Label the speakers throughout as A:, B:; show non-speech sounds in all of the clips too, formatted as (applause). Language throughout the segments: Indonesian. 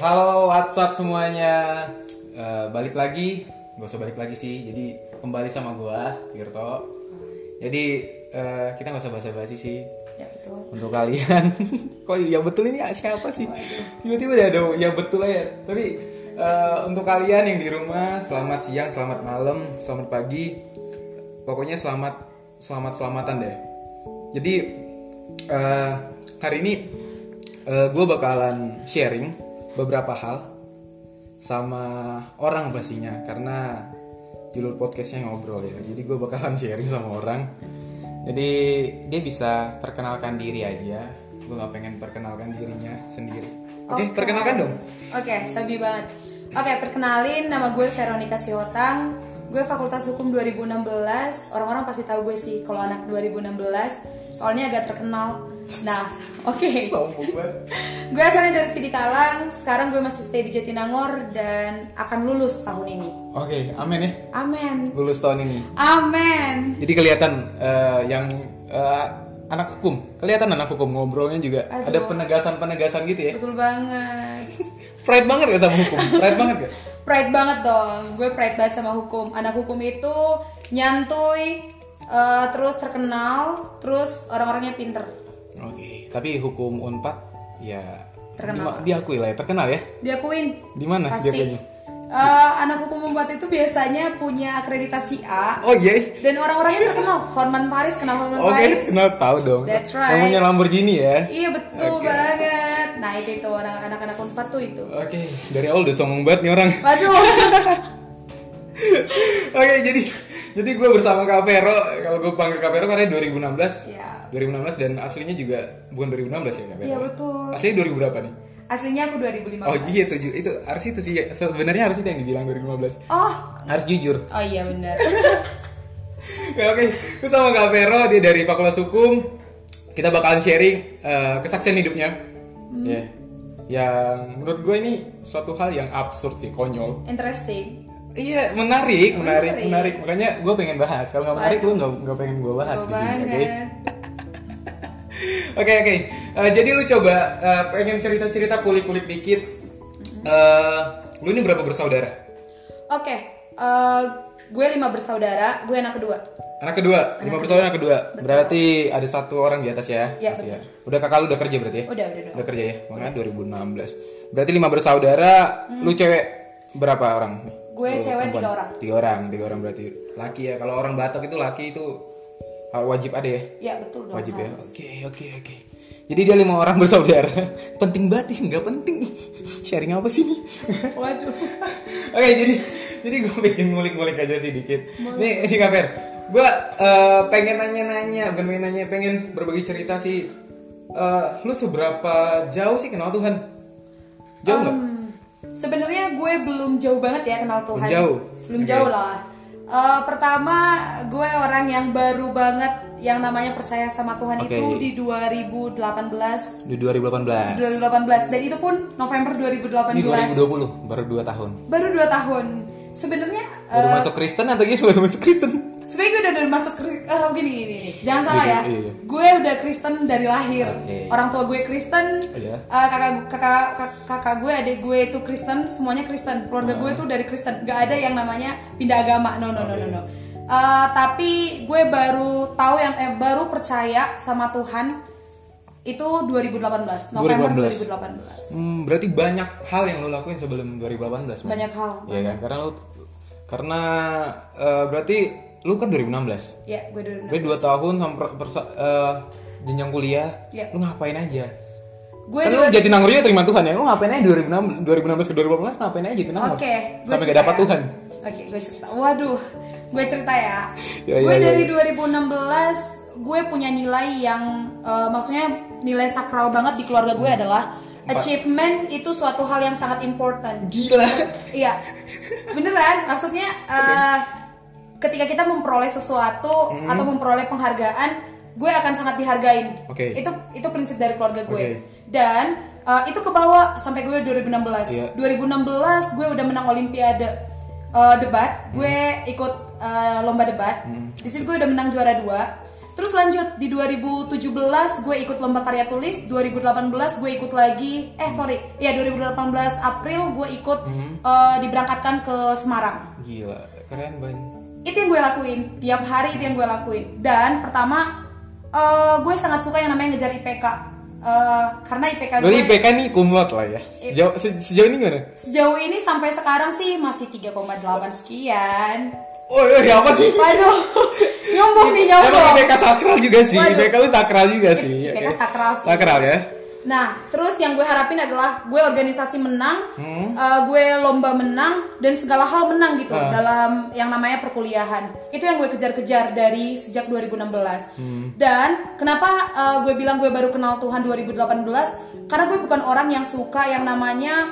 A: Halo WhatsApp semuanya, Eh, balik lagi, gak usah balik lagi sih. Jadi kembali sama gua Tirto. Jadi eh, kita gak usah basa-basi sih
B: ya betul
A: untuk kalian. (laughs) Kok yang betul ini siapa sih? Tiba-tiba ada yang betul aja. Tapi eh, untuk kalian yang di rumah, selamat siang, selamat malam, selamat pagi. Pokoknya selamat selamat selamatan deh. Jadi eh, hari ini gue bakalan sharing beberapa hal sama orang pastinya karena judul podcastnya ngobrol ya jadi gue bakalan (laughs) sharing sama orang jadi dia bisa perkenalkan diri aja gue nggak pengen perkenalkan dirinya sendiri oke
B: Oke.
A: perkenalkan dong
B: oke stabil banget oke perkenalin nama gue Veronica Siotang gue Fakultas Hukum 2016 orang-orang pasti tahu gue sih kalau anak 2016 soalnya agak terkenal nah (laughs) oke
A: (laughs) sombong banget
B: gue asalnya dari Sidikalang sekarang gue masih stay di Jatinangor dan akan lulus tahun ini
A: oke amin ya
B: amen
A: lulus tahun ini
B: amen
A: jadi kelihatan eh, yang eh, anak hukum kelihatan anak hukum ngobrolnya juga
B: Aduh.
A: ada penegasan penegasan gitu ya
B: betul banget
A: pride banget gak sama hukum pride banget gak
B: pride banget dong gue pride banget sama hukum anak hukum itu nyantuy eh, terus terkenal terus orang-orangnya pinter
A: Oke, tapi hukum Unpad ya
B: Terkenal.
A: di- diakui lah ya, terkenal ya.
B: diakuin
A: Di mana
B: pasti
A: diakuinya?
B: Eh, anak hukum empat itu biasanya punya akreditasi A
A: Oh iya.
B: dan orang-orangnya terkenal Horman Paris kenal Horman
A: Oke,
B: Paris
A: kenal tahu dong.
B: That's
A: Yang
B: right.
A: punya Lamborghini ya.
B: iya betul banget nah itu itu orang anak-anak empat tuh itu
A: Oke, dari awal udah sombong banget nih orang. (laughs)
B: waduh
A: Oke, jadi jadi gue bersama Kak Vero, kalau gue panggil Kak Vero karena 2016.
B: (laughs) ya
A: 2016 dan aslinya juga bukan 2016 ya Kak Vero?
B: Iya, betul.
A: Aslinya 2000 berapa nih?
B: aslinya aku 2015
A: Oh iya tujuh itu harus itu sih sebenarnya harus itu yang dibilang 2015
B: oh
A: harus jujur
B: oh iya benar
A: Ya, Oke, Terus sama Kak Vero, dia dari Fakultas Hukum. Kita bakalan sharing eh, kesaksian hidupnya. Ya. Yang menurut gue ini suatu hal yang absurd sih, konyol.
B: interesting
A: Iya, menarik, menarik,
B: Menarik.
A: menarik. Makanya gue pengen bahas. Kalau nggak menarik, gue nggak nggak pengen gue bahas
B: Betul
A: di sini. Oke, oke,
B: banget
A: oke. Eh, jadi lu coba eh, pengen cerita-cerita kulik-kulik dikit. Eh, lu ini berapa bersaudara?
B: Oke, eh, gue lima bersaudara, gue anak kedua.
A: Anak kedua, lima bersaudara anak kedua. Berarti ada satu orang di atas ya?
B: Iya,
A: Pasti ya. Udah kakak lu udah kerja berarti ya?
B: Udah, udah, udah.
A: Udah kerja ya? Makanya 2016. Berarti lima bersaudara, lu cewek berapa orang?
B: Hmm. Gue
A: Lu
B: cewek
A: perempuan?
B: tiga orang.
A: Tiga orang, tiga orang berarti laki ya. Kalau orang Batak itu laki itu hal wajib ada ya?
B: Ya betul dong.
A: Wajib ya. Oke, oke, oke. Jadi dia lima orang bersaudara. (laughs) penting banget ya, nggak penting. Sharing apa sih ini?
B: (laughs) Waduh.
A: Oke jadi jadi gue bikin ngulik-ngulik aja sih dikit. Nih ini Kaper, gue eh, pengen nanya-nanya, bukan pengen nanya, pengen berbagi cerita sih. Eh, lu seberapa jauh sih kenal Tuhan? Jauh nggak?
B: Hmm, Sebenarnya gue belum jauh banget ya kenal Tuhan.
A: Belum jauh.
B: Belum
A: Oke.
B: jauh lah. Eh, pertama, gue orang yang baru banget yang namanya percaya sama Tuhan
A: Oke.
B: itu di 2018.
A: Di 2018.
B: 2018 dan itu pun November
A: Ini
B: 2018.
A: 2020, baru 2 tahun.
B: Baru 2 tahun. Sebenarnya eh,
A: Baru masuk Kristen atau gini? (laughs) Baru masuk Kristen.
B: Sebenernya gue udah, udah masuk kri- eh, gini, gini, gini. Jangan salah
A: Iya,
B: ya.
A: iya.
B: Gue udah Kristen dari lahir.
A: Oke.
B: Orang tua gue Kristen.
A: Iya.
B: eh, kakak gu- kakak kak- kakak gue, adik gue itu Kristen, semuanya
A: Ah.
B: Kristen. Keluarga gue itu dari Kristen. Gak ada yang namanya pindah agama. No, no, no, no, no. Eh, tapi gue baru tahu yang eh, baru percaya sama Tuhan itu 2018, November 2018.
A: Hmm, berarti banyak hal yang lu lakuin sebelum 2018. Man.
B: Banyak hal.
A: Iya kan? Karena lu karena eh, berarti lu kan 2016.
B: Ya, gue 2018.
A: Gue 2 tahun sama per- persa- eh, jenjang kuliah,
B: Iya.
A: lu ngapain aja?
B: Gue
A: kan lu jadi nangurnya terima Tuhan ya, lu ngapain aja 2016, 2016 ke 2018 ngapain aja jadi nanggur?
B: Oke, gue
A: Sampai gak
B: cerita
A: dapat
B: ya.
A: Tuhan.
B: Oke, gue cerita. Waduh, gue cerita ya.
A: Ya,
B: gue
A: ya, ya,
B: dari 2016 gue punya nilai yang eh, maksudnya nilai sakral banget di keluarga
A: Hmm.
B: gue adalah achievement itu suatu hal yang sangat important.
A: Gila.
B: Iya, beneran. Maksudnya eh, ketika kita memperoleh sesuatu
A: Hmm.
B: atau memperoleh penghargaan, gue akan sangat dihargain.
A: Oke.
B: Itu itu prinsip dari keluarga gue.
A: Oke.
B: Dan eh, itu ke bawah sampai gue 2016.
A: Iya.
B: 2016 gue udah menang olimpiade eh, debat. Gue ikut eh, lomba debat. Di situ gue udah menang juara dua. Terus lanjut di 2017 gue ikut lomba karya tulis, 2018 gue ikut lagi, eh sorry, ya 2018 April gue ikut eh, diberangkatkan ke Semarang
A: Gila, keren banget.
B: itu yang gue lakuin tiap hari itu yang gue lakuin dan pertama eh, gue sangat suka yang namanya ngejar IPK Eh, karena IPK gue
A: Berarti IPK nih kumlot lah ya. Sejauh se- sejauh ini gimana?
B: sejauh ini sampai sekarang sih masih 3,8 sekian
A: Oh, iya, apa sih?
B: waduh (laughs) nyombong nih
A: Emang
B: nyombong
A: IPK sakral juga sih.
B: Waduh.
A: IPK lu sakral juga sih.
B: IPK
A: Oke.
B: sakral sih.
A: Sakral ya.
B: nah terus yang gue harapin adalah gue organisasi menang eh, gue lomba menang dan segala hal menang gitu
A: Hmm. Ah.
B: dalam yang namanya perkuliahan itu yang gue kejar-kejar dari sejak 2016
A: Hmm.
B: dan kenapa eh, gue bilang gue baru kenal Tuhan 2018 karena gue bukan orang yang suka yang namanya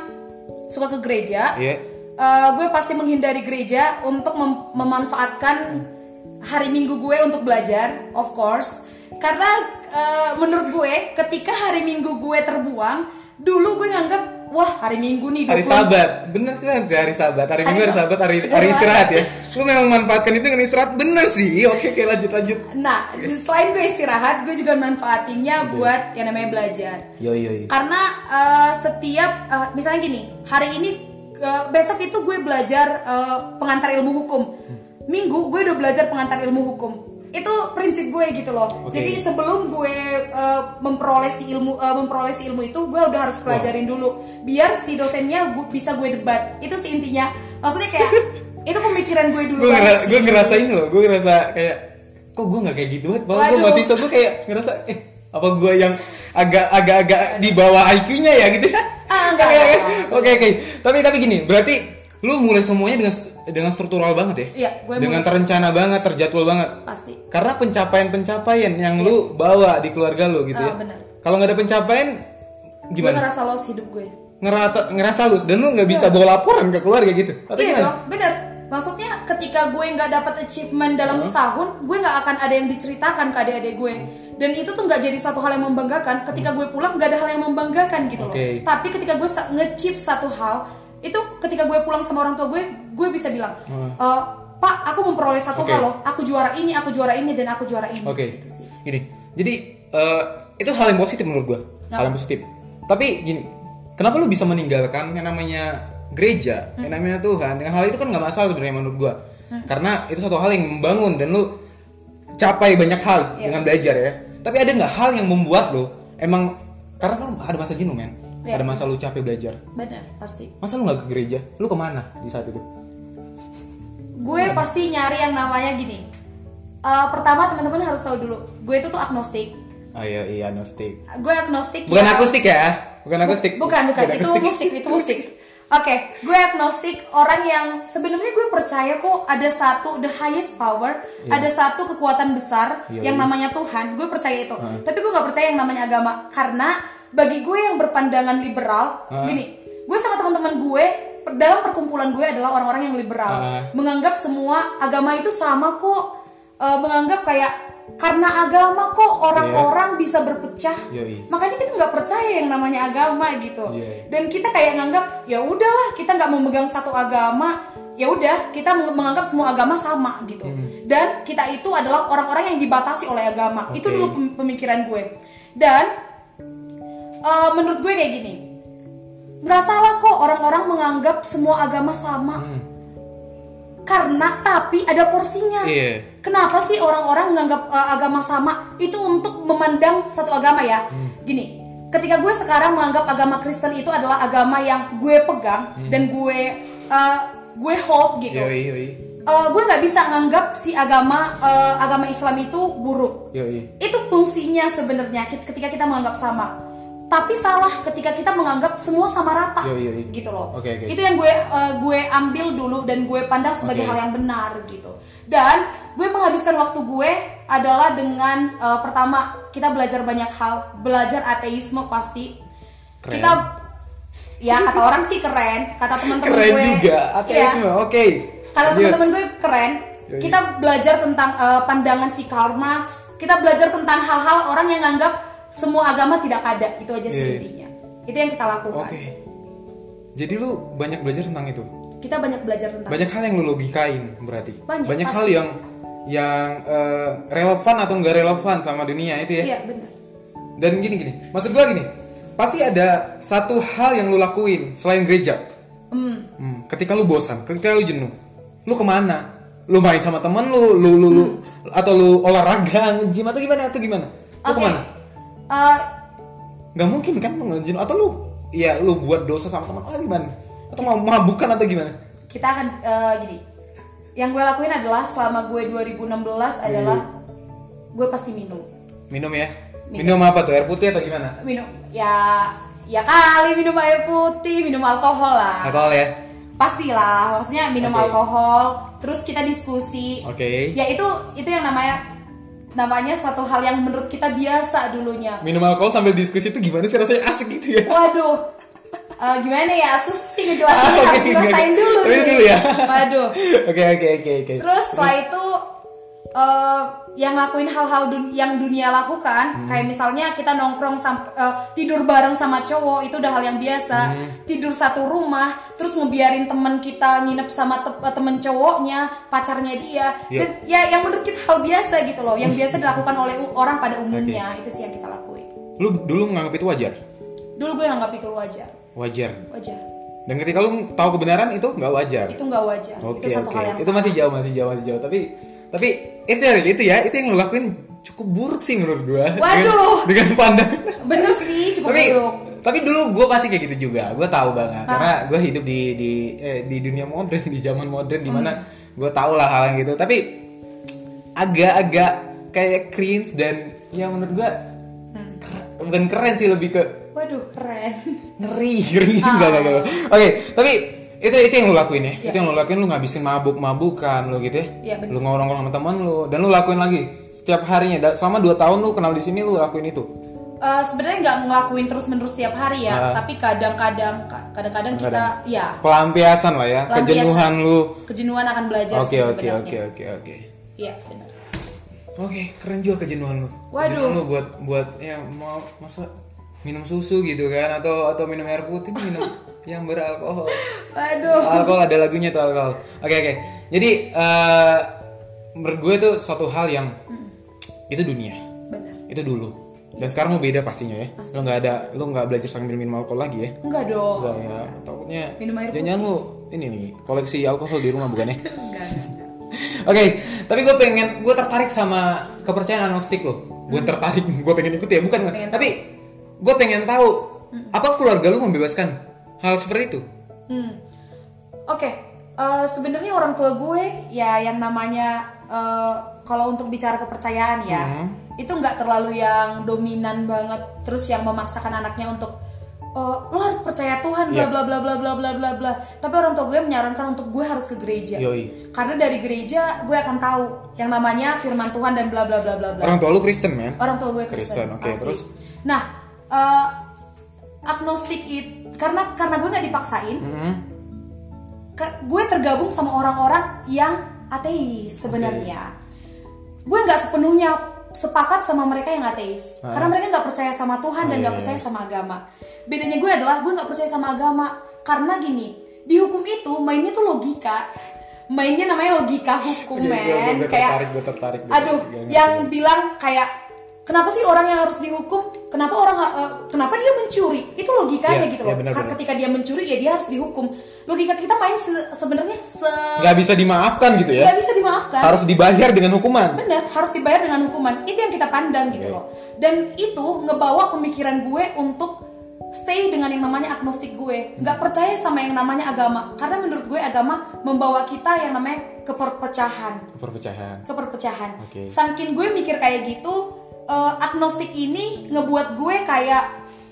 B: suka ke gereja
A: Iya.
B: Eh, gue pasti menghindari gereja untuk mem- memanfaatkan hari minggu gue untuk belajar, of course. Karena eh, menurut gue, ketika hari minggu gue terbuang, dulu gue nganggap wah hari minggu nih
A: Hari
B: 20
A: Sabat. Bener sih Bang, sih hari Sabat. Hari Minggu hari
B: Hari-
A: Sabat, hari
B: Bener
A: hari
B: banget.
A: istirahat ya. Lu memang manfaatkan itu dengan istirahat bener sih. Oke, oke lanjut lanjut.
B: Nah, selain gue istirahat, gue juga manfaatinnya buat yang namanya belajar.
A: Yo yo. yo.
B: Karena eh, setiap eh, misalnya gini, hari ini eh, besok itu gue belajar eh, pengantar ilmu hukum. Minggu gue udah belajar pengantar ilmu hukum. Itu prinsip gue gitu loh.
A: Oke.
B: Jadi sebelum gue eh, memperoleh si ilmu eh, memperoleh si ilmu itu, gue udah harus pelajarin dulu biar si dosennya gu- bisa gue debat. Itu sih intinya. Maksudnya
A: (laughs)
B: kayak itu pemikiran gue dulu
A: Gue
B: banget
A: ngera-
B: sih.
A: gue ngerasain loh, gue ngerasa kayak kok gue nggak kayak gitu banget. Malah gue
B: Waduh.
A: masih gue kayak ngerasa eh apa gue yang agak agak agak di bawah IQ-nya ya gitu. (laughs)
B: Ah,
A: Oke
B: enggak,
A: oke.
B: enggak.
A: Oke oke. Tapi tapi gini, berarti lu mulai semuanya dengan st- dengan struktural banget ya?
B: Iya, gue
A: Dengan
B: mulai-
A: terencana banget, terjadwal banget.
B: Pasti.
A: Karena pencapaian-pencapaian yang lu bawa di keluarga lu gitu
B: Iya. Ah,
A: ya.
B: benar.
A: Kalau nggak ada pencapaian
B: Gue
A: gimana?
B: ngerasa los hidup gue.
A: Ngerata, ngerasa lu dan lu nggak bisa bawa laporan ke keluarga gitu. Atau
B: Iya
A: gimana?
B: dong, bener. Maksudnya ketika gue nggak dapat achievement dalam setahun, gue nggak akan ada yang diceritakan ke adik-adik gue. Dan itu tuh nggak jadi satu hal yang membanggakan. Ketika gue pulang nggak ada hal yang membanggakan gitu loh.
A: Oke.
B: Tapi ketika gue sa- nge-achieve satu hal, itu ketika gue pulang sama orang tua gue, gue bisa bilang, "Eh, Pak, aku memperoleh satu
A: Oke.
B: hal loh. Aku juara ini, aku juara ini, dan aku juara ini.
A: Oke.
B: Gitu sih.
A: Gini. Jadi eh, itu hal yang positif menurut gua. Hal yang positif. Tapi gini, kenapa lu bisa meninggalkan yang namanya gereja,
B: Hmm.
A: yang namanya Tuhan? Dengan hal itu kan nggak masalah sebenarnya menurut gua. Karena itu satu hal yang membangun dan lu capai banyak hal
B: Iya.
A: dengan belajar ya. Tapi ada nggak hal yang membuat lu emang karena kan ada masa jenuh men,
B: Iya.
A: ada masa lu capek belajar.
B: Bener, pasti.
A: Masa lu nggak ke gereja? Lu kemana di saat itu?
B: gue pasti nyari yang namanya gini. Eh, pertama teman-teman harus tahu dulu, gue itu tuh agnostik.
A: Ayo iya agnostik.
B: Gue agnostik.
A: Bukan
B: ya-
A: akustik ya, bukan akustik.
B: Bukan, bukan. Itu
A: akustik.
B: musik, itu musik. Oke, gue agnostik orang yang sebenarnya gue percaya kok ada satu the highest power, ada satu kekuatan besar
A: Iya,
B: yang
A: iya.
B: namanya Tuhan. Gue percaya itu. Tapi gue nggak percaya yang namanya agama karena bagi gue yang berpandangan liberal, gini, gue sama teman-teman gue per- dalam perkumpulan gue adalah orang-orang yang liberal,
A: Ah.
B: menganggap semua agama itu sama kok, Eh, menganggap kayak karena agama kok orang-orang bisa berpecah
A: Iya. Yoi.
B: makanya kita nggak percaya yang namanya agama gitu
A: Iya.
B: dan kita kayak nganggap ya udahlah kita nggak memegang satu agama ya udah kita meng- menganggap semua agama sama gitu
A: Hmm.
B: dan kita itu adalah orang-orang yang dibatasi oleh agama itu
A: Oke.
B: dulu pem- pemikiran gue dan eh, menurut gue kayak gini nggak salah kok orang-orang menganggap semua agama sama
A: Hmm.
B: karena tapi ada porsinya.
A: Iya.
B: Kenapa sih orang-orang menganggap uh, agama sama itu untuk memandang satu agama ya? Gini, ketika gue sekarang menganggap agama Kristen itu adalah agama yang gue pegang dan gue uh, gue hold gitu.
A: Yoi, yoi.
B: Uh, gue nggak bisa nganggap si agama uh, agama Islam itu buruk.
A: Yoi.
B: Itu fungsinya sebenarnya kit- ketika kita menganggap sama. Tapi salah ketika kita menganggap semua sama rata.
A: Yo, yo, yo.
B: Gitu loh.
A: Oke, oke.
B: Itu yang gue eh, gue ambil dulu dan gue pandang sebagai
A: Oke.
B: hal yang benar gitu. Dan gue menghabiskan waktu gue adalah dengan eh, pertama kita belajar banyak hal, belajar ateisme pasti.
A: Keren.
B: Kita ya kata orang sih keren, kata teman-teman gue.
A: Keren juga,
B: Iya.
A: ateisme. Oke.
B: Karena
A: Lanjut.
B: teman-teman gue keren,
A: Yoi.
B: kita belajar tentang eh, pandangan si Karl Marx, kita belajar tentang hal-hal orang yang nganggap semua agama tidak ada, itu aja sih
A: Iya.
B: intinya. Itu yang kita
A: Oke.
B: lakukan.
A: Jadi lu banyak belajar tentang itu.
B: Kita banyak belajar tentang
A: Banyak hal yang lu logikain berarti.
B: Banyak,
A: hal
B: pasti.
A: yang yang eh, relevan atau nggak relevan sama dunia itu ya
B: Iya benar.
A: dan gini gini maksud gua gini pasti ada satu hal yang lu lakuin selain gereja
B: Hmm.
A: Hmm, ketika lu bosan ketika lu jenuh lu kemana lu main sama temen lu lu lu, lu- atau lu olahraga (laughs) nge-gym atau gimana atau gimana lu
B: Hmm. Oke.
A: kemana
B: Eh,
A: nggak mungkin kan lu nge-gym atau lu ya lu buat dosa sama teman oh gimana atau mau mabukan atau gimana
B: kita akan eh, gini. Yang gue lakuin adalah selama gue 2016
A: Iya,
B: adalah gue pasti minum.
A: minum ya minum, apa tuh air putih atau gimana
B: Minum ya ya kali minum air putih, minum alkohol lah.
A: alkohol ya
B: Pastilah, maksudnya minum
A: Oke.
B: alkohol, terus kita diskusi.
A: oke
B: Ya itu itu yang namanya namanya satu hal yang menurut kita biasa dulunya.
A: minum alkohol sambil diskusi itu gimana sih rasanya asik gitu
B: (laughs)
A: ya
B: Waduh. Eh, gimana ya? Susah sih ngejelasin
A: Ah,
B: harus
A: oke,
B: dirasain
A: oke.
B: dulu.
A: Tapi
B: nih.
A: dulu ya.
B: Waduh.
A: oke oke oke oke
B: Terus setelah itu eh, yang lakuin hal-hal dun- yang dunia
A: Hmm.
B: lakukan, kayak misalnya kita nongkrong sam- eh, tidur bareng sama cowok itu udah hal yang biasa.
A: Hmm.
B: Tidur satu rumah, terus ngebiarin teman kita nginep sama te- eh, temen cowoknya, pacarnya dia.
A: Yep.
B: Dan ya yang menurut kita hal biasa gitu loh,
A: (laughs)
B: yang biasa dilakukan oleh u- orang pada umumnya, itu sih yang kita lakuin.
A: lu dulu menganggap itu wajar
B: Dulu gue nganggap itu wajar.
A: wajar
B: Wajar.
A: dan ketika lu tahu kebenaran itu nggak wajar
B: itu nggak wajar
A: oke
B: itu satu
A: oke
B: hal yang
A: itu masih jauh masih jauh masih jauh tapi tapi itu itu ya itu yang lu lakuin cukup buruk sih menurut gua
B: Waduh.
A: dengan, dengan pandangan
B: bener sih cukup
A: tapi
B: buruk Ah.
A: tapi dulu gue pasti kayak gitu juga gue tahu banget karena gue hidup di di eh, di dunia modern di zaman modern di mana
B: Hmm.
A: gue tahu lah hal yang gitu tapi agak-agak kayak cringe dan ya menurut gue
B: Hmm.
A: bukan keren sih lebih ke
B: waduh keren
A: ngeri (laughs) ngeri enggak
B: Ah.
A: enggak enggak. oke tapi itu itu yang lu lakuin ya itu yang lu lakuin lu ngabisin mabuk mabukan lu gitu
B: Iya,
A: ya,
B: bener.
A: lu ngorong-ngorong sama teman lu dan lu lakuin lagi setiap harinya Da- selama 2 tahun lu kenal di sini lu lakuin itu
B: Eh, sebenarnya nggak ngelakuin terus menerus tiap hari
A: Ah.
B: ya tapi kadang-kadang kadang-kadang kita ya
A: pelampiasan lah ya
B: Pelampiasan.
A: kejenuhan lu
B: kejenuhan akan belajar
A: Oke
B: sih
A: oke
B: sebenarnya
A: oke oke oke.
B: iya benar
A: Oke, keren juga kejenuhan lu.
B: Waduh.
A: Kejenuhan lu buat buat ya mau masa minum susu gitu kan atau atau minum air putih minum (laughs) yang beralkohol.
B: aduh
A: Alkohol ada lagunya tuh alkohol. Oke oke. Jadi eh menurut gue itu suatu hal yang itu dunia.
B: Hmm. benar Iya.
A: Itu dulu. Dan sekarang mau beda pastinya ya. Lu nggak ada lu nggak belajar sambil minum alkohol lagi ya.
B: enggak dong
A: Enggak ya. Takutnya
B: Oh. Minum air
A: jangan lu ini nih koleksi alkohol di rumah
B: (laughs)
A: bukan ya?
B: enggak
A: Oke, tapi gue pengen gue tertarik sama kepercayaan agnostik lo. Gue tertarik, gue pengen ikut ya, bukan bukan.
B: Hmm. Pengen
A: tapi gue pengen tahu apa keluarga lu membebaskan hal seperti itu?
B: Hmm. Oke, eh, sebenarnya orang tua gue ya yang namanya eh, kalau untuk bicara kepercayaan ya,
A: Hmm.
B: itu nggak terlalu yang dominan banget terus yang memaksakan anaknya untuk eh, lo harus percaya Tuhan bla
A: Iya.
B: bla bla bla bla bla bla bla. Tapi orang tua gue menyarankan untuk gue harus ke gereja.
A: Yoi.
B: Karena dari gereja gue akan tahu yang namanya firman Tuhan dan bla bla bla bla bla.
A: Orang tua lu Kristen men?
B: Orang tua gue
A: Kristen,
B: Kristen.
A: oke,
B: asli.
A: terus?
B: Nah, eh, agnostik itu karena karena gue nggak dipaksain,
A: Mhm.
B: Hmm. ke- gue tergabung sama orang-orang yang ateis sebenarnya. Gue nggak sepenuhnya sepakat sama mereka yang ateis,
A: Ah.
B: karena mereka nggak percaya sama Tuhan dan
A: Iya,
B: nggak percaya sama agama. Bedanya gue adalah gue nggak percaya sama agama karena gini, di hukum itu mainnya tuh logika, mainnya namanya logika hukum
A: Oke, gue- gue-
B: men,
A: gue tertarik,
B: kayak
A: gue tertarik, gue
B: aduh
A: tertarik. Gak
B: yang bilang kayak kenapa sih orang yang harus dihukum kenapa orang eh, kenapa dia mencuri itu logikanya
A: Iya,
B: gitu loh
A: iya, benar,
B: Kan
A: benar.
B: ketika dia mencuri ya dia harus dihukum logika kita main se- sebenarnya se
A: Gak bisa dimaafkan gitu ya?
B: nggak bisa dimaafkan
A: Harus dibayar dengan hukuman.
B: benar harus dibayar dengan hukuman itu yang kita pandang
A: Iya.
B: gitu loh dan itu ngebawa pemikiran gue untuk stay dengan yang namanya agnostik gue nggak percaya sama yang namanya agama karena menurut gue agama membawa kita yang namanya keperpecahan
A: Perpecahan.
B: keperpecahan.
A: Oke.
B: Saking gue mikir kayak gitu, eh, agnostik ini ngebuat gue kayak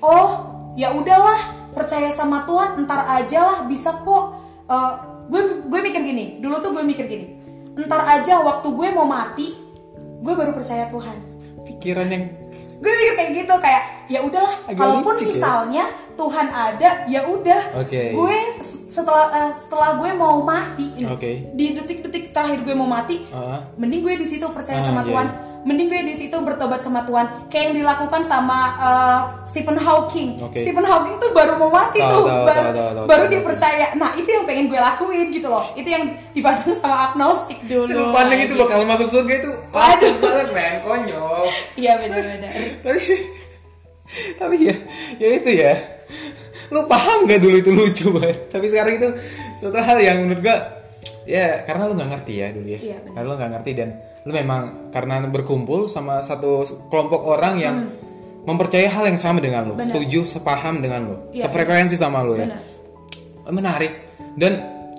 B: oh ya udahlah percaya sama Tuhan, entar aja lah bisa kok. Eh, gue gue mikir gini, dulu tuh gue mikir gini, entar aja waktu gue mau mati, gue baru percaya Tuhan.
A: Pikiran yang
B: Gue mikir kayak gitu kayak ya udahlah,
A: Agak
B: kalaupun
A: licik ya.
B: misalnya Tuhan ada, ya udah.
A: Oke.
B: Gue setelah eh, setelah gue mau mati,
A: Oke.
B: di detik-detik terakhir gue mau mati,
A: Ah.
B: mending gue di situ percaya
A: Ah,
B: sama
A: iya,
B: Tuhan
A: iya.
B: mending gue di situ bertobat sama Tuhan kayak yang dilakukan sama eh, Stephen Hawking
A: Oke.
B: Stephen Hawking tuh baru mau mati
A: Tahu,
B: tuh
A: tahu,
B: baru,
A: tahu, tahu, tahu,
B: baru
A: tahu.
B: dia percaya nah itu yang pengen gue lakuin gitu loh itu yang dibantu sama agnostik
A: Itu
B: dulu
A: pandang itu gitu loh kalau masuk surga itu
B: Waduh.
A: langsung banget men konyol.
B: iya benar-benar
A: Tapi tapi ya ya itu ya. Lu paham gak dulu itu lucu banget. Tapi sekarang itu suatu hal yang menurut gua ya karena lu nggak ngerti ya dulu ya.
B: Iya, benar.
A: karena lu nggak ngerti dan lu memang karena berkumpul sama satu kelompok orang yang mempercayai hal yang sama dengan lu,
B: Hmm. Benar.
A: setuju, sepaham dengan lu,
B: Iya.
A: sefrekuensi sama lu ya. Eh,
B: benar
A: menarik dan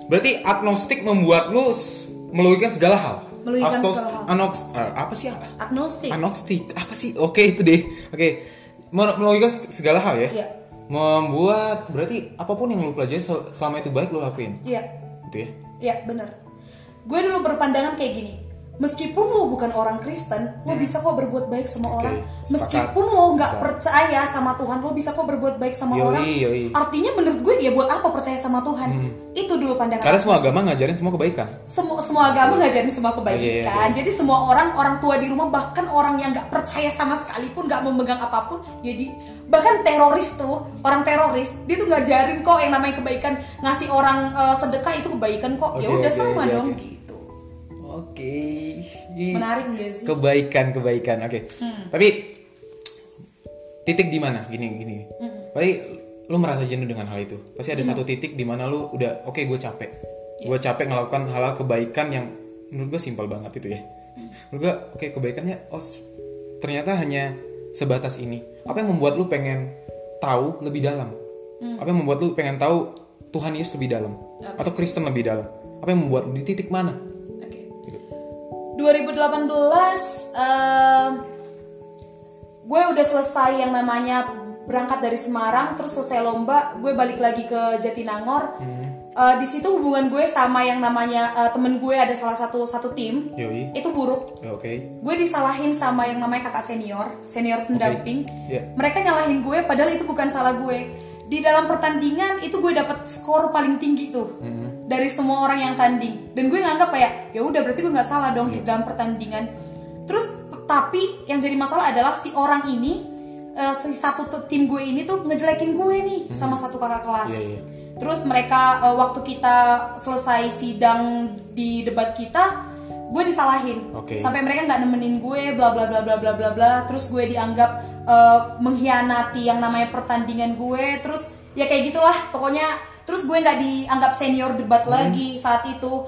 A: berarti agnostik membuat lu s- meluikan segala hal
B: Meluikan
A: Astos-
B: segala hal.
A: anox- eh, apa sih apa?
B: agnostik
A: agnostik apa sih oke itu deh oke Mer- meluikan seg- segala hal ya
B: Iya.
A: membuat berarti apapun yang lu pelajari sel- selama itu baik lu lakuin
B: iya
A: gitu ya
B: Ya bener Gue dulu berpandangan kayak gini Meskipun lo bukan orang Kristen Lo bisa kok berbuat baik sama
A: Hmm. Oke,
B: orang
A: sepakat.
B: Meskipun lo nggak
A: Bisa.
B: percaya sama Tuhan Lo bisa kok berbuat baik sama
A: Yoi,
B: orang
A: yoi. Hmm.
B: Artinya menurut gue ya buat apa percaya sama Tuhan Itu dulu pandangan
A: karena semua agama ngajarin semua kebaikan
B: semua semua agama ngajarin semua kebaikan.
A: Iya, iya, iya.
B: Jadi semua orang orang tua di rumah bahkan orang yang nggak percaya sama sekali pun nggak memegang apapun. Jadi bahkan teroris tuh orang teroris dia tuh ngajarin kok yang namanya kebaikan ngasih orang eh, sedekah itu kebaikan kok. ya
A: Oke,
B: udah
A: oke,
B: sama
A: oke,
B: dong
A: oke.
B: gitu.
A: oke Iya.
B: Menarik gak sih?
A: kebaikan kebaikan oke tapi titik di mana gini gini pasti lu merasa jenuh dengan hal itu pasti ada satu titik di mana lu udah oke gue capek gue capek ngelakukan hal-hal kebaikan yang menurut gue simpel banget itu ya menurut gue oke kebaikannya oh s- ternyata hanya sebatas ini apa yang membuat lu pengen tahu lebih dalam apa yang membuat lu pengen tahu Tuhan Yesus lebih dalam atau Kristen lebih dalam apa yang membuat lu di titik mana
B: Oke. 2018 em, eh, gue udah selesai yang namanya berangkat dari Semarang terus selesai lomba gue balik lagi ke Jatinangor. Eh, di situ hubungan gue sama yang namanya eh, temen gue ada salah satu satu tim
A: yoi Ya,
B: itu buruk.
A: oke
B: Gue disalahin sama yang namanya kakak senior, senior pendamping.
A: Iya.
B: Mereka nyalahin gue padahal itu bukan salah gue. Di dalam pertandingan itu gue dapat skor paling tinggi tuh
A: Mm-hmm.
B: dari semua orang yang tanding. Dan gue nganggap kayak ya udah berarti gue nggak salah
A: Iya.
B: dong di dalam pertandingan. Terus tapi yang jadi masalah adalah si orang ini eh, si satu t- tim gue ini tuh ngejelekin gue nih sama satu kakak kelas.
A: Mm-hmm. Iya, iya.
B: Terus mereka eh, waktu kita selesai sidang di debat kita, gue disalahin.
A: Oke.
B: Sampai mereka nggak nemenin gue, bla bla bla bla bla bla bla. Terus gue dianggap eh, mengkhianati yang namanya pertandingan gue. Terus ya kayak gitulah, pokoknya. Terus gue nggak dianggap senior debat
A: Hmm.
B: lagi saat itu.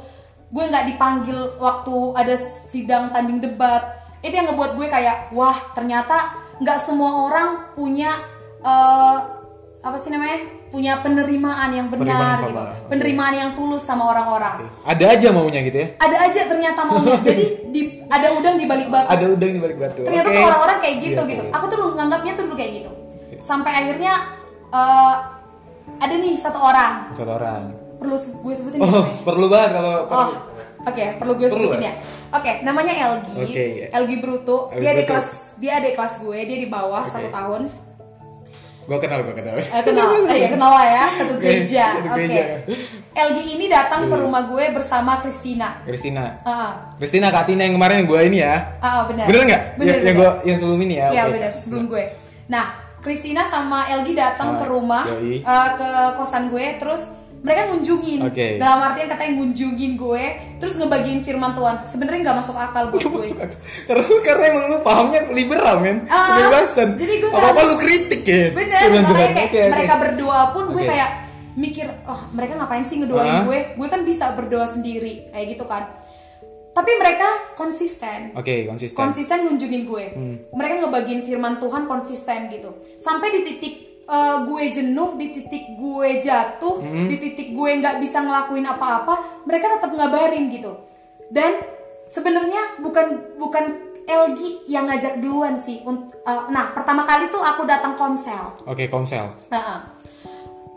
B: Gue nggak dipanggil waktu ada sidang tanding debat. Itu yang ngebuat gue kayak wah ternyata nggak semua orang punya eh, apa sih namanya punya penerimaan yang benar
A: Penerimaan sama-
B: gitu. penerimaan yang tulus sama orang-orang
A: Ada aja maunya gitu ya.
B: ada aja ternyata
A: (laughs)
B: maunya jadi di, ada udang di balik batu
A: Ada udang di balik batu.
B: ternyata
A: Oke.
B: tuh orang-orang kayak gitu
A: Iya,
B: gitu
A: iya.
B: aku tuh dulu nganggapnya tuh dulu kayak gitu sampai akhirnya eh, ada nih satu orang
A: Satu orang.
B: perlu se- gue sebutin
A: iya.
B: ya
A: Oh,
B: namanya?
A: perlu banget kalau
B: oh
A: kalau-
B: oke perlu gue
A: Perlu
B: sebutin
A: ya?
B: ya oke namanya Elgi
A: Oke, iya.
B: Elgi Bruto
A: Elgi
B: dia ada
A: Bruto.
B: kelas dia ada kelas gue dia di bawah
A: Oke.
B: satu tahun
A: gua kenal gua kenal.
B: Eh, kenal, eh, ya kenal lah ya satu
A: Oke,
B: gereja.
A: satu
B: Oke.
A: gereja. Iya.
B: LG ini datang ke rumah gue bersama Christina.
A: Kristina.
B: Ah,
A: Kristina Katina yang kemarin gua ini ya.
B: ah, ah, benar.
A: Bener nggak?
B: Bener,
A: Yang, yang
B: bener.
A: gua yang sebelum ini ya.
B: Iya
A: oke.
B: benar sebelum gue. Nah, Christina sama Elgi
A: Sama,
B: datang ke rumah
A: Ah, yoi.
B: eh, ke kosan gue terus mereka ngunjungin.
A: Oke.
B: Dalam artian katanya ngunjungin gue terus ngebagiin firman Tuhan. Sebenarnya nggak masuk akal buat gue.
A: karena karena emang lu pahamnya liberal men,
B: Ah,
A: kebebasan.
B: jadi gua
A: apa apa
B: ngerasa-
A: lu kritik ya.
B: Bener,
A: Firman
B: makanya
A: Tuhan.
B: kayak
A: Oke, oke.
B: mereka berdua pun gue
A: Oke.
B: kayak mikir, oh mereka ngapain sih ngedoain
A: Ah.
B: gue? Gue kan bisa berdoa sendiri, kayak gitu kan. Tapi mereka konsisten,
A: Oke, konsisten.
B: konsisten ngunjungin gue.
A: Hmm.
B: Mereka ngebagiin firman Tuhan konsisten gitu. Sampai di titik eh, gue jenuh, di titik gue jatuh,
A: Hmm.
B: di titik gue nggak bisa ngelakuin apa-apa, mereka tetap ngabarin gitu. Dan sebenarnya bukan bukan LG yang ngajak duluan sih. Unt- eh, nah, pertama kali tuh aku datang Komsel.
A: Oke, Komsel.
B: Heeh.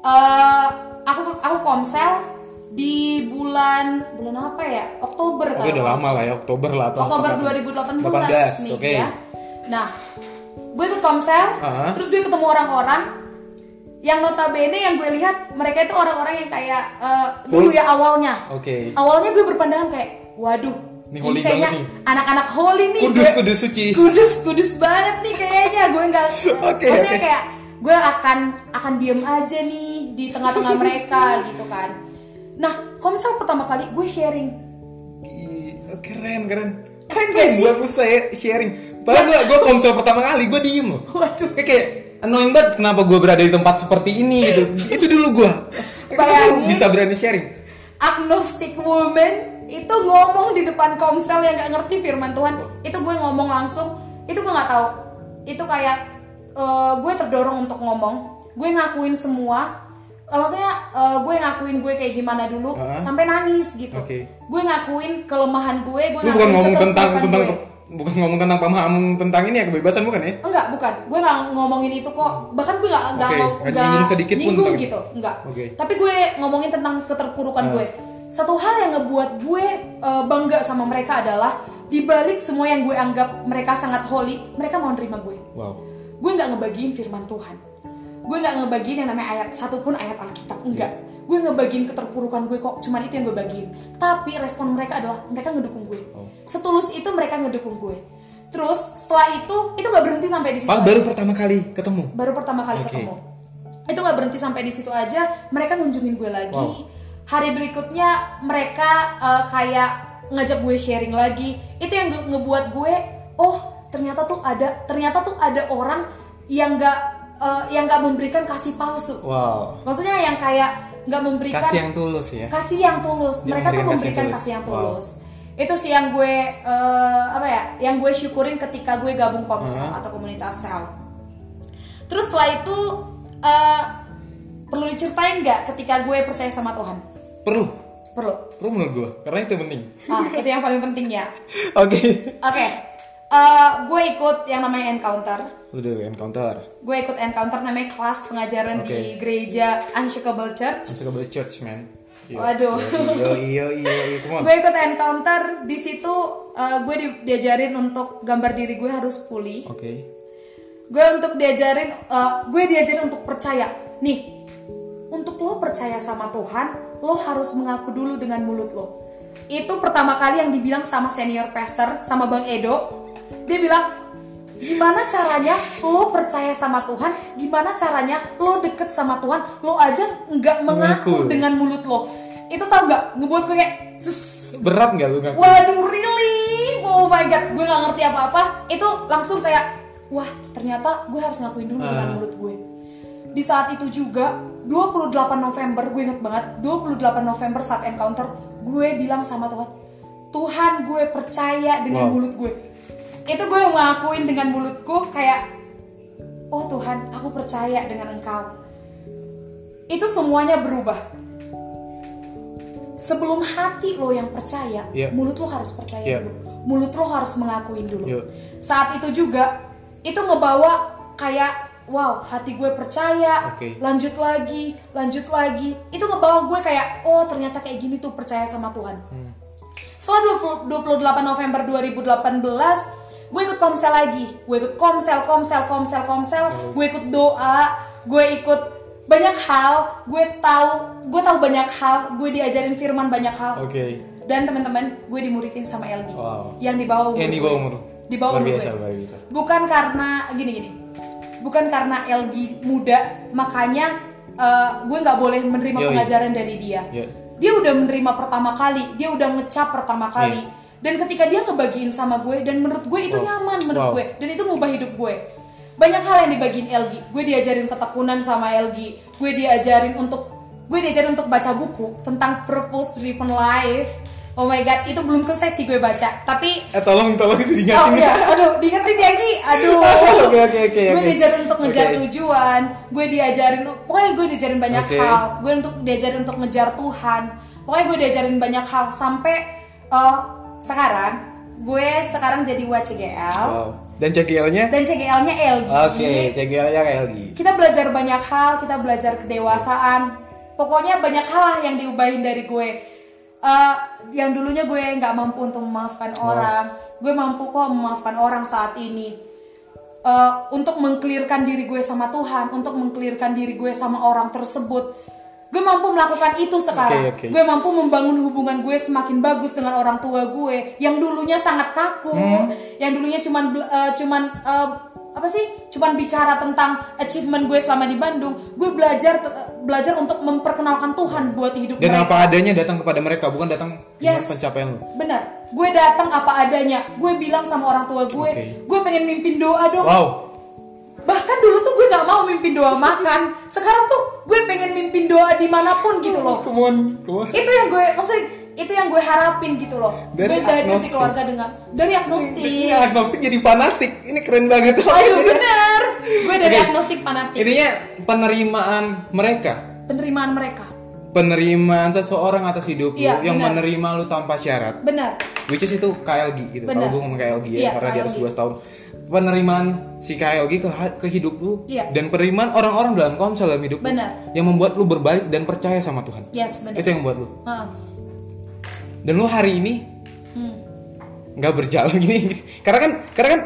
B: Eh, aku aku komsel di bulan bulan apa ya? Oktober
A: Oke, udah lama lah ya Oktober lah atau
B: Oktober
A: apa.
B: 2018 nih
A: 18, Oke.
B: ya. Nah, gue ikut komsel,
A: Ah.
B: terus gue ketemu orang-orang yang notabene yang gue lihat mereka itu orang-orang yang kayak eh, dulu ya awalnya.
A: Oke.
B: Awalnya gue berpandangan kayak waduh
A: Ini holy
B: ini kayaknya
A: banget nih.
B: anak-anak holy nih
A: Kudus
B: gue-
A: kudus suci.
B: kudus kudus banget nih kayaknya gue nggak
A: (laughs) Oke,
B: maksudnya
A: oke.
B: kayak gue akan akan diem aja nih di tengah-tengah mereka gitu kan nah komsel pertama kali gue sharing
A: Ih, Keren keren.
B: Keren gak sih?
A: Bagus saya sharing. Padahal gue gue komsel pertama kali gue diem loh.
B: Waduh.
A: Kayak, kayak annoying banget kenapa gue berada di tempat seperti ini gitu. Itu dulu gue.
B: Bayangin.
A: bisa berani sharing.
B: agnostic woman itu ngomong di depan komsel yang nggak ngerti firman Tuhan itu gue ngomong langsung itu gue nggak tahu itu kayak eh, gue terdorong untuk ngomong gue ngakuin semua Eh, maksudnya eh, gue ngakuin gue kayak gimana dulu
A: Heeh.
B: sampai nangis gitu
A: Oke.
B: gue ngakuin kelemahan gue
A: Lu
B: gue
A: bukan
B: ngakuin
A: ngomong tentang
B: keterpurukan
A: tentang
B: gue.
A: bukan ngomong tentang pemahaman tentang ini ya kebebasan bukan ya?
B: Enggak, bukan. Gue nggak ngomongin itu kok. Bahkan gue nggak nggak
A: Oke,
B: ngom-
A: nggak
B: nggak
A: nyinggung sedikit pun
B: nyinggung
A: tentang-
B: gitu, enggak.
A: Oke.
B: Tapi gue ngomongin tentang keterpurukan
A: Ah.
B: gue. Satu hal yang ngebuat gue eh, bangga sama mereka adalah dibalik semua yang gue anggap mereka sangat holy, mereka mau nerima gue.
A: Wow.
B: Gue nggak ngebagiin firman Tuhan. Gue nggak ngebagiin yang namanya ayat satu pun ayat Alkitab,
A: Iya.
B: enggak. Gue ngebagiin keterpurukan gue kok, cuman itu yang gue bagiin. Tapi respon mereka adalah mereka ngedukung gue.
A: Oh.
B: Setulus itu mereka ngedukung gue. Terus setelah itu itu nggak berhenti sampai di situ.
A: Padahal
B: aja
A: baru pertama kali ketemu.
B: baru pertama kali
A: Oke.
B: ketemu itu nggak berhenti sampai di situ aja mereka ngunjungin gue lagi
A: Wow.
B: hari berikutnya mereka eh, kayak ngajak gue sharing lagi itu yang nge- ngebuat gue oh ternyata tuh ada ternyata tuh ada orang yang nggak eh, yang nggak memberikan kasih palsu
A: Wow.
B: maksudnya yang kayak nggak memberikan
A: Kasih yang tulus ya.
B: kasih yang tulus
A: Dia
B: mereka tuh memberikan
A: memberikan
B: kasih yang tulus
A: tulus.
B: itu sih yang gue eh, apa ya yang gue syukurin ketika gue gabung komsel
A: Hmm.
B: atau komunitas sel terus setelah itu eh, perlu diceritain nggak ketika gue percaya sama Tuhan
A: Perlu.
B: perlu
A: Perlu menurut gue karena itu penting.
B: nah itu yang paling penting ya
A: (laughs) Oke.
B: oke eh, gue ikut yang namanya encounter
A: Udah encounter.
B: gue ikut encounter namanya kelas pengajaran di
A: Oke.
B: gereja Unshakable Church
A: Masuk ke church man. Yo,
B: Waduh.
A: Yo yo yo yo. Come on.
B: gue ikut encounter di situ eh, gue di- diajarin untuk gambar diri gue harus pulih
A: Oke.
B: gue untuk diajarin eh, gue diajarin untuk percaya nih untuk lo percaya sama Tuhan lo harus mengaku dulu dengan mulut lo itu pertama kali yang dibilang sama senior pastor sama bang Edo dia bilang gimana caranya lo percaya sama Tuhan gimana caranya lo deket sama Tuhan lo aja nggak mengaku
A: Mengaku.
B: dengan mulut lo itu tau nggak ngebuat gue kayak "Zzz,
A: Berat nggak lu ngaku?
B: Waduh, really? Oh my god, gue nggak ngerti apa-apa. Itu langsung kayak, wah ternyata gue harus ngakuin dulu dengan
A: Ah.
B: mulut gue. Di saat itu juga, 28 November, gue inget banget, 28 November saat encounter, gue bilang sama Tuhan, Tuhan gue percaya dengan
A: Wow.
B: mulut gue. Itu gue ngakuin dengan mulutku kayak, oh Tuhan, aku percaya dengan Engkau. Itu semuanya berubah sebelum hati lo yang percaya,
A: Iya.
B: mulut lo harus percaya
A: Iya.
B: dulu. Mulut lo harus mengakuin dulu.
A: Iya.
B: Saat itu juga itu ngebawa kayak wow, hati gue percaya.
A: Oke.
B: Lanjut lagi, lanjut lagi. Itu ngebawa gue kayak oh, ternyata kayak gini tuh percaya sama Tuhan. Setelah 20 28 November 2018, gue ikut komsel lagi. Gue ikut komsel, komsel, komsel, komsel.
A: Hmm.
B: Gue ikut doa, gue ikut banyak hal. Gue tahu, gue tahu banyak hal. Gue diajarin firman banyak hal.
A: Oke.
B: Dan teman-teman, gue dimuridin sama
A: Oh.
B: LD
A: Wow.
B: yang di bawah umur.
A: Yang di
B: gue.
A: bawah Eh, umur.
B: Di bawah
A: Luar
B: umur
A: biasa,
B: gue.
A: luar biasa.
B: Bukan karena gini-gini. Bukan karena LD muda, makanya eh, gue nggak boleh menerima
A: Yoi.
B: pengajaran dari dia.
A: Yoi.
B: Dia udah menerima pertama kali, dia udah ngecap pertama kali. Dan ketika dia ngebagiin sama gue dan menurut gue itu
A: Wow.
B: nyaman menurut
A: Wow.
B: gue dan itu ngubah hidup gue. Banyak hal yang dibagiin LG. Gue diajarin ketekunan sama LG. Gue diajarin untuk gue diajarin untuk baca buku tentang purpose driven life. Oh my god, itu belum selesai sih gue baca. Tapi
A: Eh tolong tolong itu
B: Oh
A: diingatin.
B: iya, aduh, diingetin ya Ki. Aduh.
A: ya. (laughs) Oke, oke, oke,
B: Gue
A: oke.
B: diajarin untuk ngejar
A: Oke.
B: tujuan, gue diajarin pokoknya gue diajarin banyak
A: Oke.
B: hal. Gue untuk diajarin untuk ngejar Tuhan. Pokoknya gue diajarin banyak hal sampai eh, sekarang gue sekarang jadi WCGL
A: Wow. Dan CGL-nya?
B: dan CGL-nya LG.
A: Oh. Oke,
B: Iya.
A: CGL-nya kayak lagi.
B: Kita belajar banyak hal, kita belajar kedewasaan. Pokoknya banyak hal lah yang diubahin dari gue. Eh, yang dulunya gue nggak mampu untuk memaafkan orang, gue mampu kok memaafkan orang saat ini. Eh, untuk mengklirkan diri gue sama Tuhan, untuk mengklirkan diri gue sama orang tersebut, gue mampu melakukan itu sekarang
A: Oke, oke.
B: gue mampu membangun hubungan gue semakin bagus dengan orang tua gue yang dulunya sangat kaku
A: Hmm.
B: yang dulunya cuman bel- eh, cuman eh, apa sih cuman bicara tentang achievement gue selama di Bandung gue belajar eh, belajar untuk memperkenalkan Tuhan buat hidup
A: dan
B: mereka.
A: apa adanya datang kepada mereka bukan datang dengan
B: Yes.
A: pencapaian lo
B: benar gue datang apa adanya gue bilang sama orang tua gue
A: Oke.
B: gue pengen mimpin doa dong
A: wow
B: bahkan dulu tuh gue gak mau mimpin doa makan sekarang tuh gue pengen mimpin doa dimanapun gitu loh
A: come on come on.
B: itu yang gue maksudnya itu yang gue harapin gitu loh
A: Dari
B: gue dari
A: agnostik.
B: keluarga dengan dari
A: Iya,
B: agnostik
A: agnostik jadi fanatik ini keren banget ya.
B: ayo bener gue dari
A: Oke.
B: agnostik fanatik
A: intinya penerimaan mereka
B: penerimaan mereka
A: penerimaan seseorang atas hidupmu
B: Iya,
A: yang
B: benar.
A: menerima lu tanpa syarat
B: benar
A: which is itu KLG gitu kalau
B: Benar.
A: gue ngomong KLG ya
B: Iya,
A: karena di atas
B: KLG.
A: 12 tahun penerimaan si KLG ke, ke hidup lu
B: Iya.
A: dan penerimaan orang-orang dalam komsel dalam hidup lu
B: Benar.
A: yang membuat lu berbalik dan percaya sama Tuhan
B: yes benar
A: itu yang membuat lu
B: Heeh.
A: dan lu hari ini
B: Hmm.
A: nggak berjalan gini (laughs) karena kan karena kan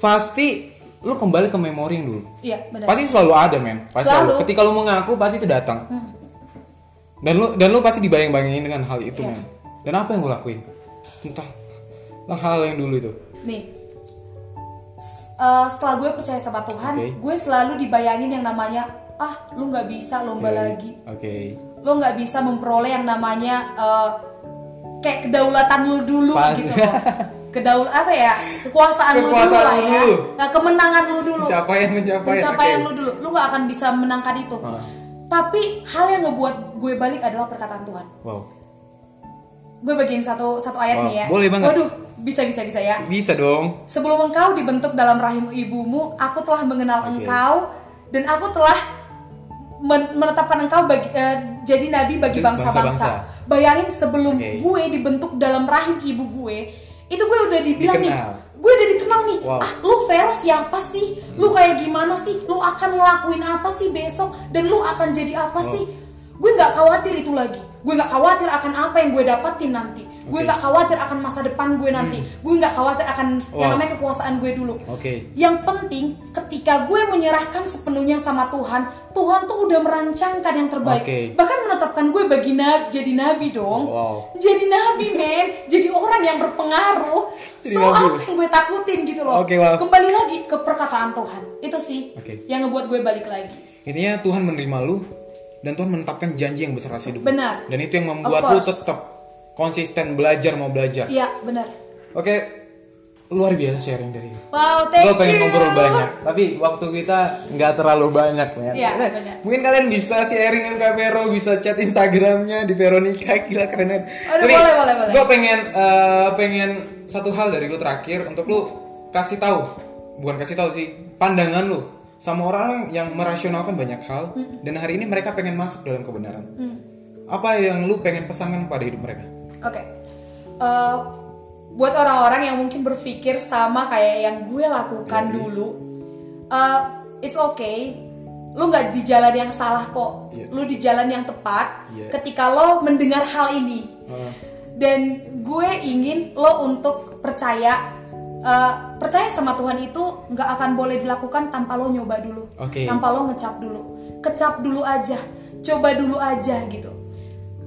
A: pasti lu kembali ke memori yang dulu
B: iya benar
A: pasti selalu ada men pasti selalu.
B: Selalu. Hmm.
A: ketika lu mau ngaku pasti itu datang dan lu dan lu pasti dibayang-bayangin dengan hal itu
B: Iya.
A: men dan apa yang lu lakuin entah Nah, hal yang dulu itu
B: nih s- eh, setelah gue percaya sama Tuhan
A: Oke.
B: gue selalu dibayangin yang namanya ah lu nggak bisa lomba lagi
A: Iya, oke
B: lo nggak bisa memperoleh yang namanya eh, kayak kedaulatan lu dulu
A: Pas.
B: gitu loh. kedaul apa ya kekuasaan, lu dulu
A: Kekuasaan
B: lah
A: lu
B: ya
A: dulu.
B: Nah, kemenangan lu dulu
A: pencapaian pencapaian
B: pencapaian
A: oke.
B: lu dulu lu nggak akan bisa menangkan itu
A: Ah.
B: tapi hal yang ngebuat gue balik adalah perkataan Tuhan
A: wow
B: gue bagiin satu satu ayat
A: Wow,
B: nih ya
A: boleh banget.
B: waduh bisa bisa bisa ya
A: bisa dong
B: Sebelum engkau dibentuk dalam rahim ibumu, aku telah mengenal engkau dan aku telah men- menetapkan engkau bagi eh, jadi nabi
A: Jadi
B: bagi bangsa-bangsa.
A: bangsa-bangsa.
B: Bayangin sebelum
A: Oke.
B: gue dibentuk dalam rahim ibu gue, itu gue udah dibilang
A: Dikenal.
B: nih, gue udah dikenal nih.
A: Wow. Hmm.
B: Ah, lu Vero siapa sih? Lu kayak gimana sih? Lu akan ngelakuin apa sih besok? Dan lu akan jadi apa sih? Gue nggak khawatir itu lagi. Gue nggak khawatir akan apa yang gue dapatin nanti.
A: Oke. Hmm.
B: Gue nggak khawatir akan masa depan gue nanti. Gue nggak khawatir akan yang
A: Wow.
B: namanya kekuasaan gue dulu.
A: Oke.
B: Yang penting ketika gue menyerahkan sepenuhnya sama Tuhan, Tuhan tuh udah merancangkan yang terbaik.
A: Oke.
B: Bahkan menetapkan gue bagi na- jadi nabi dong.
A: Wow.
B: Jadi nabi
A: (laughs)
B: men, jadi orang yang berpengaruh.
A: Jadi
B: so
A: nabi.
B: apa yang gue takutin gitu loh.
A: Oke, wow.
B: Kembali lagi ke perkataan Tuhan. Itu sih
A: Oke.
B: yang ngebuat gue balik lagi.
A: intinya Tuhan menerima lu dan Tuhan menetapkan janji yang besar atas hidup lu.
B: Benar.
A: dan itu yang membuat lu
B: course.
A: tetap konsisten belajar mau belajar
B: Iya, benar.
A: oke luar biasa sharing dari lu
B: Wow, thank
A: gue pengen
B: you.
A: ngobrol banyak tapi waktu kita nggak terlalu banyak men
B: Iya,
A: Nah,
B: benar.
A: mungkin kalian bisa sharingin ke Vero bisa chat instagramnya di Veronica gila keren
B: Aduh, boleh, boleh, boleh.
A: gue pengen eh, pengen satu hal dari lu terakhir untuk lu kasih tahu bukan kasih tahu sih pandangan lu sama orang yang merasionalkan banyak hal
B: Hmm.
A: dan hari ini mereka pengen masuk dalam kebenaran apa yang lu pengen pesankan kepada hidup mereka
B: Oke. Eh, buat orang-orang yang mungkin berpikir sama kayak yang gue
A: Iya,
B: lakukan dulu, eh, it's okay. Lu nggak di jalan yang salah kok.
A: Iya.
B: Lu di jalan yang tepat.
A: Iya.
B: Ketika lo mendengar hal ini,
A: Eh,
B: dan gue ingin lo untuk percaya, eh, percaya sama Tuhan itu nggak akan boleh dilakukan tanpa lo nyoba dulu,
A: Oke.
B: tanpa lo ngecap dulu, kecap dulu aja, coba dulu aja gitu.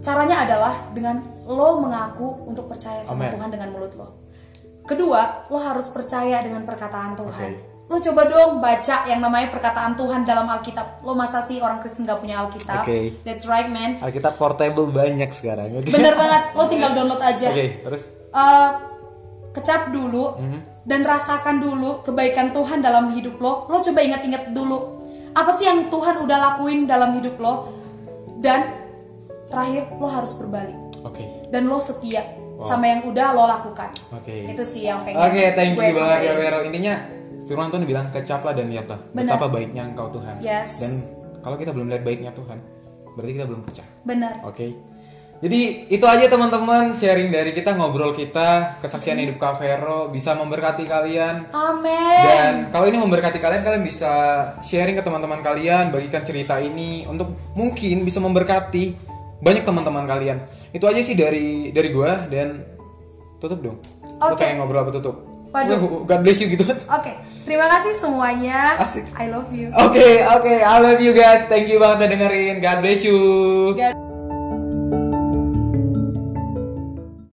B: Caranya adalah dengan lo mengaku untuk percaya sama
A: Amen.
B: Tuhan dengan mulut lo. Kedua, lo harus percaya dengan perkataan Tuhan.
A: Oke.
B: Lo coba dong baca yang namanya perkataan Tuhan dalam Alkitab. Lo masa sih orang Kristen gak punya Alkitab?
A: Oke.
B: That's right man.
A: Alkitab portable banyak sekarang oke
B: Bener banget. Lo tinggal download aja.
A: Oke, terus
B: Eh, kecap dulu
A: Mhm.
B: dan rasakan dulu kebaikan Tuhan dalam hidup lo. Lo coba ingat-ingat dulu apa sih yang Tuhan udah lakuin dalam hidup lo dan terakhir lo harus berbalik
A: oke
B: dan lo setia sama yang udah lo lakukan.
A: Oke.
B: Itu sih yang pengen.
A: Oke, thank
B: gue
A: you banget ya
B: sampaikan.
A: Vero. Intinya Firman Tuhan bilang kecaplah dan lihatlah
B: Benar.
A: betapa baiknya Engkau Tuhan.
B: Yes.
A: Dan kalau kita belum lihat baiknya Tuhan, berarti kita belum kecap.
B: Bener.
A: Oke. Jadi itu aja teman-teman sharing dari kita ngobrol kita kesaksian
B: Mm-hmm.
A: hidup Kak Vero bisa memberkati kalian.
B: Amin.
A: Dan kalau ini memberkati kalian, kalian bisa sharing ke teman-teman kalian, bagikan cerita ini untuk mungkin bisa memberkati banyak teman-teman kalian. Itu aja sih dari dari gua dan tutup dong. Lu
B: Oke.
A: pengen ngobrol apa tutup?
B: Waduh. Oke,
A: Wah, God bless you gitu. (laughs) Oke,
B: terima kasih semuanya.
A: Asik.
B: I love you.
A: oke. I love you guys. Thank you banget udah dengerin. God bless you.
B: God-